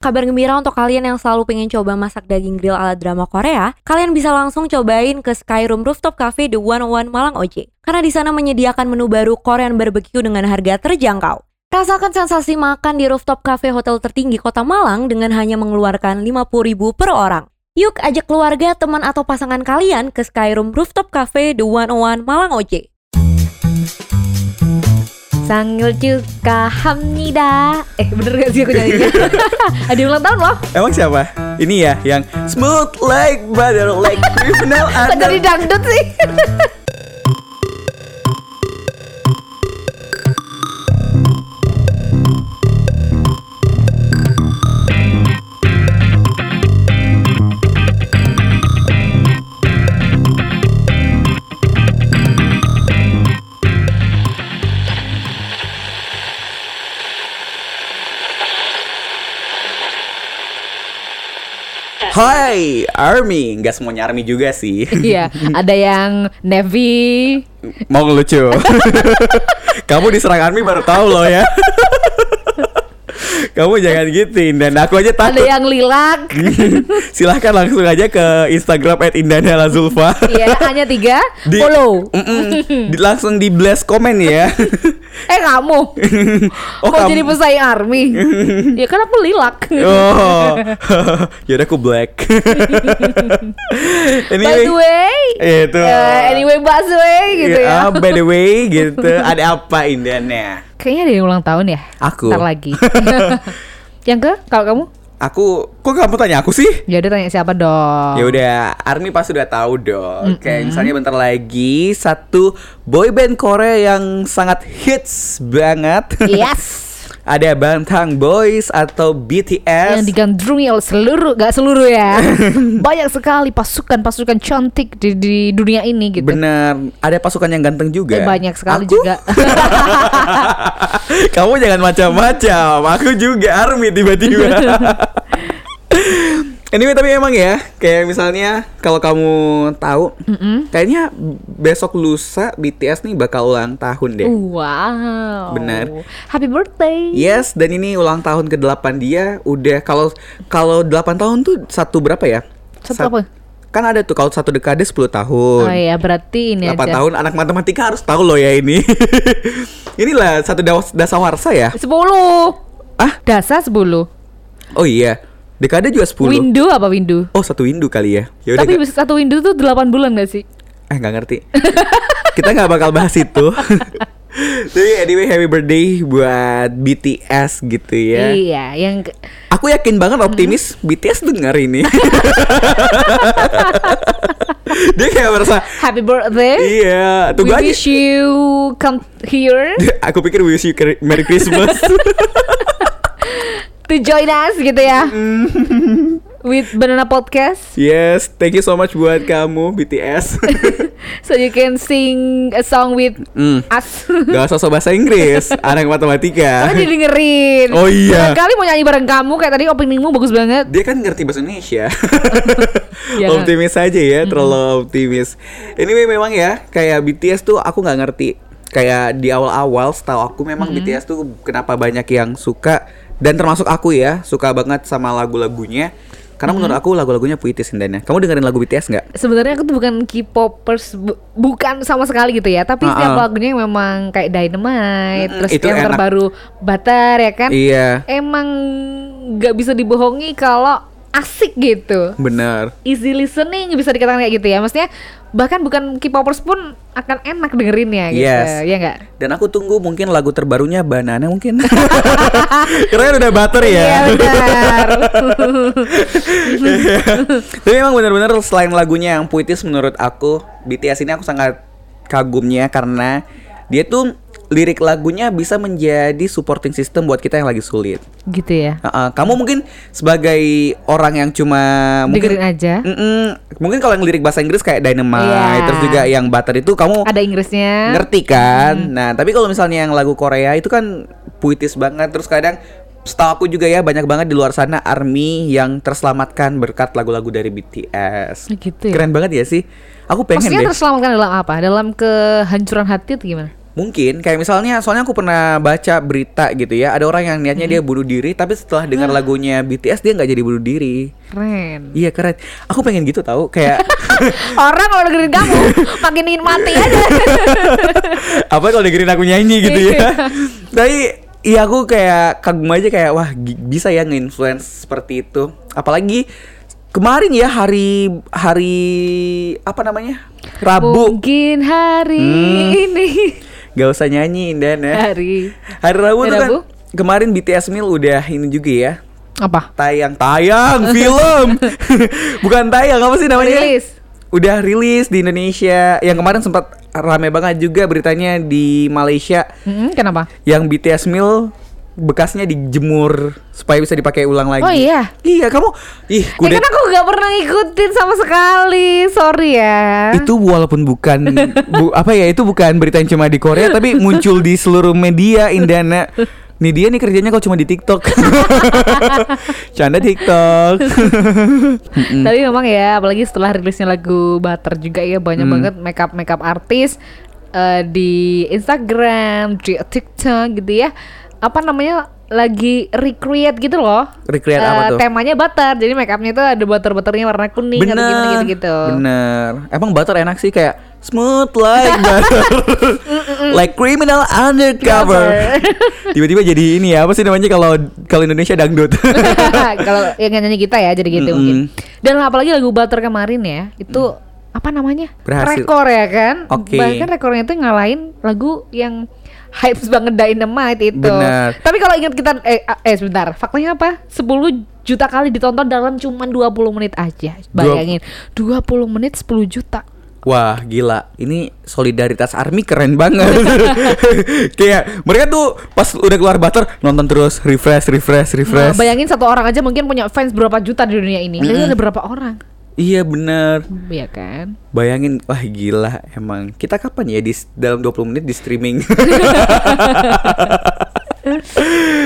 Kabar gembira untuk kalian yang selalu pengen coba masak daging grill ala drama Korea, kalian bisa langsung cobain ke Skyroom Rooftop Cafe The 101 Malang OJ. Karena di sana menyediakan menu baru Korean barbecue dengan harga terjangkau. Rasakan sensasi makan di rooftop cafe hotel tertinggi kota Malang dengan hanya mengeluarkan 50.000 per orang. Yuk ajak keluarga, teman atau pasangan kalian ke Skyroom Rooftop Cafe The 101 Malang OJ. Sangil juga hamnida Eh bener gak sih aku nyanyinya? Ada yang ulang tahun loh Emang siapa? Ini ya yang smooth like butter like criminal Kok under. jadi dangdut sih? Hai Army, nggak semuanya Army juga sih. Iya ada yang Navy Mau lucu. Kamu diserang Army baru tahu loh ya. Kamu jangan gituin dan aku aja Ada takut. yang lilak Silahkan langsung aja ke Instagram @indahnealazulfa. Iya hanya tiga Di- Follow Mm-mm. Di- langsung di blast komen ya. Eh kamu oh, Mau kamu- jadi pesaing army Ya kan aku lilak Oh, yaudah aku black. iya. By the way itu. eh, Anyway by the way gitu Ah, ya Gitu. by the way, gitu. Ada apa Indiannya? Kayaknya ada yang ulang tahun ya Aku. Ntar lagi Yang ke? Kalau kamu? Aku, kok kamu tanya aku sih? Jadi tanya siapa dong Ya udah, Army pasti udah tahu dong. Kayak misalnya bentar lagi satu boyband Korea yang sangat hits banget. Yes Ada Bangtan Boys atau BTS. yang digandrungi oleh seluruh gak seluruh ya banyak sekali pasukan-pasukan cantik di, di dunia ini gitu Bener, ada pasukan yang ganteng juga. Eh, banyak sekali Aku? juga Kamu jangan macam-macam. Aku juga army tiba-tiba. anyway, tapi emang ya, kayak misalnya kalau kamu tahu, kayaknya besok lusa BTS nih bakal ulang tahun Uh. deh. wow Benar. Iya, happy birthday Yes, dan ini ulang tahun ke-8 dia udah kalau kalau 8 tahun tuh satu berapa ya? Satu apa? Kan ada tuh kalau satu dekade 10 tahun. oh ya berarti ini 8 aja tahun anak matematika harus tahu loh ya ini. Inilah satu dawas- dasawarsa ya. 10 Ah? dasar 10 Oh iya, dekade juga 10. window apa window Oh, satu windu kali ya. Ya udah. tapi nggak- satu window tuh 8 bulan gak sih Eh, nggak ngerti. Kita nggak bakal bahas itu. Tapi anyway, happy birthday buat BTS gitu ya. iya Mm-hmm. yang ke- Aku yakin banget optimis BTS denger ini. Dia kayak merasa happy birthday Iya, Eh, we tunggu aja. wish you come here Aku pikir wish you Kri- Merry Christmas. to join us gitu ya Mm. with banana podcast yes, thank you so much buat kamu BTS. So you can sing a song with Hmm. us. Gak usah sok bahasa Inggris, anak matematika. Karena dia dengerin. Oh iya. Senang Kali mau nyanyi bareng kamu kayak tadi openingmu bagus banget. Dia kan ngerti bahasa Indonesia. Iya. optimis aja ya, terlalu optimis. Anyway memang ya, kayak BTS tuh aku nggak ngerti. Kayak di awal-awal setahu aku memang BTS tuh kenapa banyak yang suka dan termasuk aku ya, suka banget sama lagu-lagunya. Karena menurut aku lagu-lagunya puitis indannya. Kamu dengerin lagu BTS nggak? Sebenarnya aku tuh bukan K-popers, bu- bukan sama sekali gitu ya. Tapi setiap Ah-ah. lagunya memang kayak Dynamite, Mm-mm, terus itu yang enak. terbaru Butter ya kan. Iya, Emang nggak bisa dibohongi kalau asik gitu. bener. Easy listening bisa dikatakan kayak gitu ya. Maksudnya bahkan bukan K-popers pun akan enak dengerinnya gitu. Yes. Ya enggak? Dan aku tunggu mungkin lagu terbarunya Banana mungkin. Karena kan udah butter ya. Iya benar. Tapi emang bener-bener selain lagunya yang puitis menurut aku BTS ini aku sangat kagumnya karena dia tuh lirik lagunya bisa menjadi supporting system buat kita yang lagi sulit. gitu ya. Heeh, kamu mungkin sebagai orang yang cuma mungkin Dengerin aja. Mm-mm. mungkin kalau yang lirik bahasa Inggris kayak Dynamite Iya. terus juga yang Butter itu kamu Ada Inggrisnya. ngerti kan Hmm. nah tapi kalau misalnya yang lagu Korea itu kan puitis banget terus kadang setahu aku juga ya banyak banget di luar sana army yang terselamatkan berkat lagu-lagu dari BTS Gitu ya. keren banget ya sih aku pengen Maksudnya deh terselamatkan dalam apa? Dalam kehancuran hati atau gimana? Mungkin kayak misalnya soalnya aku pernah baca berita gitu ya, ada orang yang niatnya Hmm. dia bunuh diri tapi setelah dengar lagunya BTS dia nggak jadi bunuh diri. Keren. Iya keren. Aku pengen gitu tahu kayak Orang kalau dengerin kamu makin ingin mati aja. apa kalau dengerin aku nyanyi gitu ya. Tapi iya aku kayak kagum aja kayak wah gi- bisa ya nge-influence seperti itu. Apalagi kemarin ya hari hari apa namanya? Rabu. Mungkin hari Hmm. ini Gak usah nyanyi Dan ya. hari Hari Rabu Eh, Hari tuh kan Rabu? kemarin BTS Mil udah ini juga ya apa? tayang tayang film bukan tayang apa sih namanya Rilis. udah rilis di Indonesia yang kemarin sempat rame banget juga beritanya di Malaysia Hmm, kenapa? yang BTS Mil bekasnya dijemur supaya bisa dipakai ulang lagi Oh iya. iya kamu ih Ya kudet kan aku gak pernah ngikutin sama sekali. Sorry ya. itu walaupun bukan bu- apa ya itu bukan berita yang cuma di Korea tapi muncul di seluruh media Indana nih dia nih kerjanya kok cuma di TikTok canda TikTok Tapi memang ya, apalagi setelah rilisnya lagu Butter juga ya banyak Hmm. banget makeup makeup artis eh, di Instagram, di TikTok gitu ya. Apa namanya lagi recreate gitu loh. Recreate apa Eh, tuh? Temanya butter, jadi makeupnya itu ada butter-butternya warna kuning atau gimana bener gitu-gitu. bener emang butter enak sih kayak smooth like butter like criminal undercover tiba-tiba jadi ini ya apa sih namanya kalau kalau Indonesia dangdut Kalau yang nyanyi kita ya jadi gitu Mm-mm. Mm. mungkin. Dan apalagi lagu Butter kemarin ya, itu apa namanya? Berhasil. Rekor ya kan? Oke. Bahkan rekornya itu ngalahin lagu yang hype banget Dynamite itu. Benar. Tapi kalau ingat kita eh, eh sebentar, faktanya apa? 10 juta kali ditonton dalam cuman 20 menit aja. Bayangin, 20 menit 10 juta. Wah gila, ini solidaritas army keren banget. Kayak mereka tuh pas udah keluar butter nonton terus refresh refresh Nah, refresh. bayangin satu orang aja mungkin punya fans berapa juta di dunia ini. Jadi ada berapa orang? Iya bener. Iya kan? Bayangin wah gila emang. Kita kapan ya di dalam 20 menit di streaming?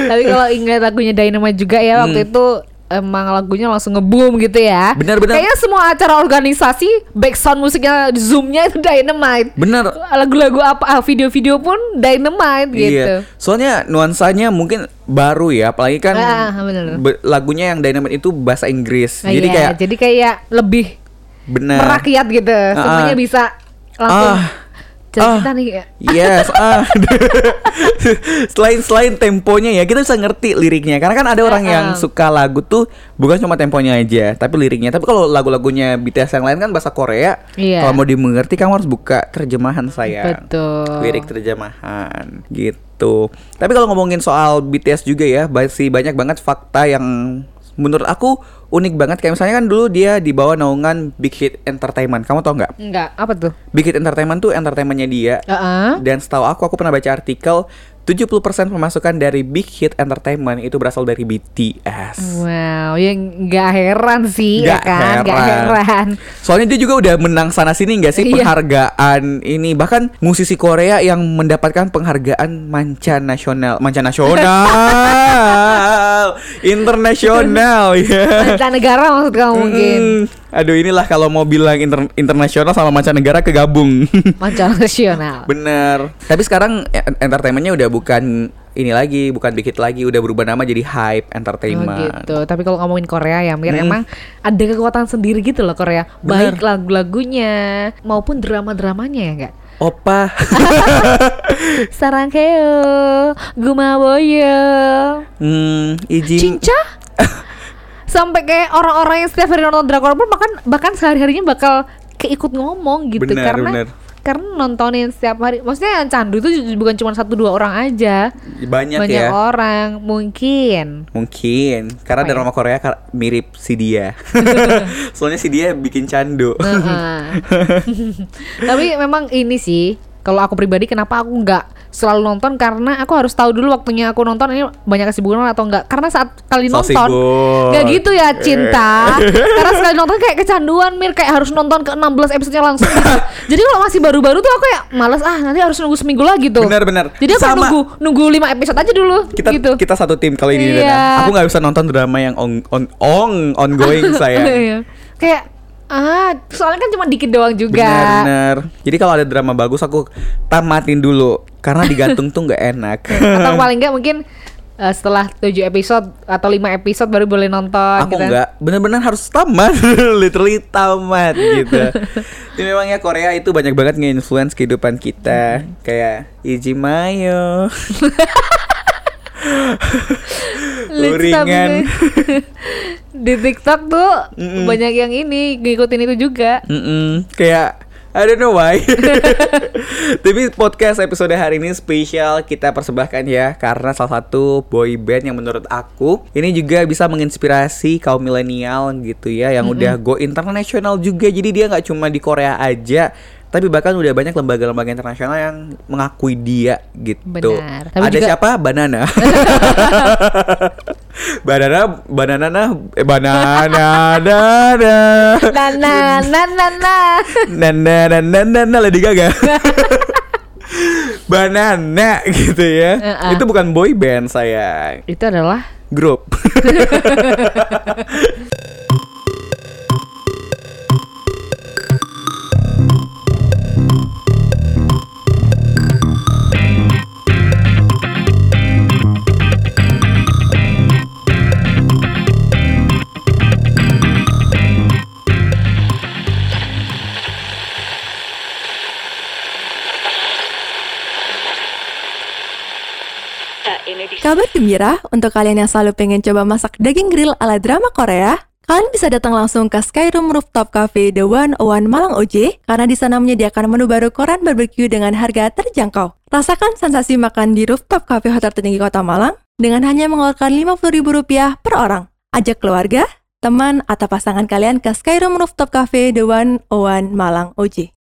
Tapi kalau ingat lagunya Dynamite juga ya waktu itu emang lagunya langsung ngeboom gitu ya. Hmm. Benar, benar. Kayaknya semua acara organisasi background musiknya zoomnya itu Dynamite. bener. Lagu-lagu apa ah, video-video pun Dynamite gitu. Iya. Soalnya nuansanya mungkin baru ya, apalagi kan Ah, bener. be- lagunya yang Dynamite itu bahasa Inggris. Nah, jadi iya, kayak jadi kayak lebih bener. merakyat gitu. Semuanya ah. bisa langsung Ah. Ah. cerita nih. ya. Yes, ah. selain selain temponya ya kita bisa ngerti liriknya karena kan ada orang yang Heeh. suka lagu tuh bukan cuma temponya aja tapi liriknya tapi kalau lagu-lagunya BTS yang lain kan bahasa Korea Iya. kalau mau dimengerti kamu harus buka terjemahan saya Betul. Ya. lirik terjemahan gitu tapi kalau ngomongin soal BTS juga ya masih banyak banget fakta yang menurut aku unik banget kayak misalnya kan dulu dia di bawah naungan Big Hit Entertainment kamu tau nggak Enggak, apa tuh? Big Hit Entertainment tuh entertainmentnya dia Heeh. dan setahu aku aku pernah baca artikel 70% pemasukan dari Big Hit Entertainment itu berasal dari BTS. Wow, ya nggak heran sih ya Nggak kan, nggak heran. Soalnya dia juga udah menang sana sini nggak sih Iya. penghargaan ini bahkan musisi Korea yang mendapatkan penghargaan mancanasional, mancanasional, internasional ya. Mancanegara maksud kamu mungkin. Mm, aduh inilah kalau mau bilang inter- internasional sama mancanegara kegabung. Mancanegara nasional. Bener. Tapi sekarang en- entertainmentnya udah bukan ini lagi, bukan dikit lagi, udah berubah nama jadi hype Oh entertainment. gitu. Tapi kalau ngomongin Korea ya, Mir Hmm. emang ada kekuatan sendiri gitu loh Korea. Bener. Baik lagu-lagunya maupun drama-dramanya ya enggak. Opa, Saranghaeo, Gumaboyo, hmm, izin. Cinca. Sampai kayak orang-orang yang setiap hari nonton drakor pun bahkan bahkan sehari-harinya bakal keikut ngomong gitu Bener, karena bener. karena nontonin setiap hari. Maksudnya yang candu itu ju- bukan cuma satu dua orang aja. Banyak, Banyak ya. orang mungkin. Mungkin karena Apa ya? drama Korea kar- mirip si dia. Soalnya si dia bikin candu. Heeh. Tapi memang ini sih, kalau aku pribadi kenapa aku nggak selalu nonton karena aku harus tahu dulu waktunya aku nonton ini banyak kesibukan atau enggak. Karena saat kali So nonton sibuk. nggak gitu ya cinta. karena sekali nonton kayak kecanduan Mir kayak harus nonton ke 16 episodenya langsung. Jadi kalau masih baru-baru tuh aku ya males ah nanti harus nunggu seminggu lagi tuh. Benar-benar. Jadi aku Sama. nunggu nunggu 5 episode aja dulu Kita gitu. kita satu tim kali ini. Iya. Dana. Aku nggak bisa nonton drama yang on on, on ongoing saya. Iya. kayak Ah, soalnya kan cuma dikit doang juga. Bener-bener Jadi kalau ada drama bagus aku tamatin dulu Karena digantung tuh nggak enak Atau paling enggak mungkin eh, setelah 7 episode atau 5 episode baru boleh nonton Aku gitu. nggak bener-bener harus tamat Literally tamat gitu Jadi memang ya Korea itu banyak banget nge-influence kehidupan kita Mm-hmm. Kayak Ijimayo Let's Uringan stop deh. Di TikTok tuh banyak yang ini ngikutin itu juga. Mm-mm. Kayak I don't know why Tapi podcast episode hari ini spesial kita persembahkan ya Karena salah satu boy band yang menurut aku Ini juga bisa menginspirasi kaum milenial gitu ya Yang udah go internasional juga Jadi dia nggak cuma di Korea aja Tapi bahkan udah banyak lembaga-lembaga internasional yang mengakui dia gitu Benar. Ada Tapi juga- siapa? Banana Banana, banana, nah, eh, banana, banana Nah, nah, nah, nah, nah. na na na na na na Lady Gaga banana gitu ya Heeh. itu bukan boy band saya Itu adalah grup Kabar gembira untuk kalian yang selalu pengen coba masak daging grill ala drama Korea. Kalian bisa datang langsung ke Skyroom Rooftop Cafe The 101 Malang OJ karena di sana menyediakan menu baru Korean barbecue dengan harga terjangkau. Rasakan sensasi makan di rooftop cafe hotel tertinggi kota Malang dengan hanya mengeluarkan Rp50.000 per orang. Ajak keluarga, teman, atau pasangan kalian ke Skyroom Rooftop Cafe The 101 Malang OJ.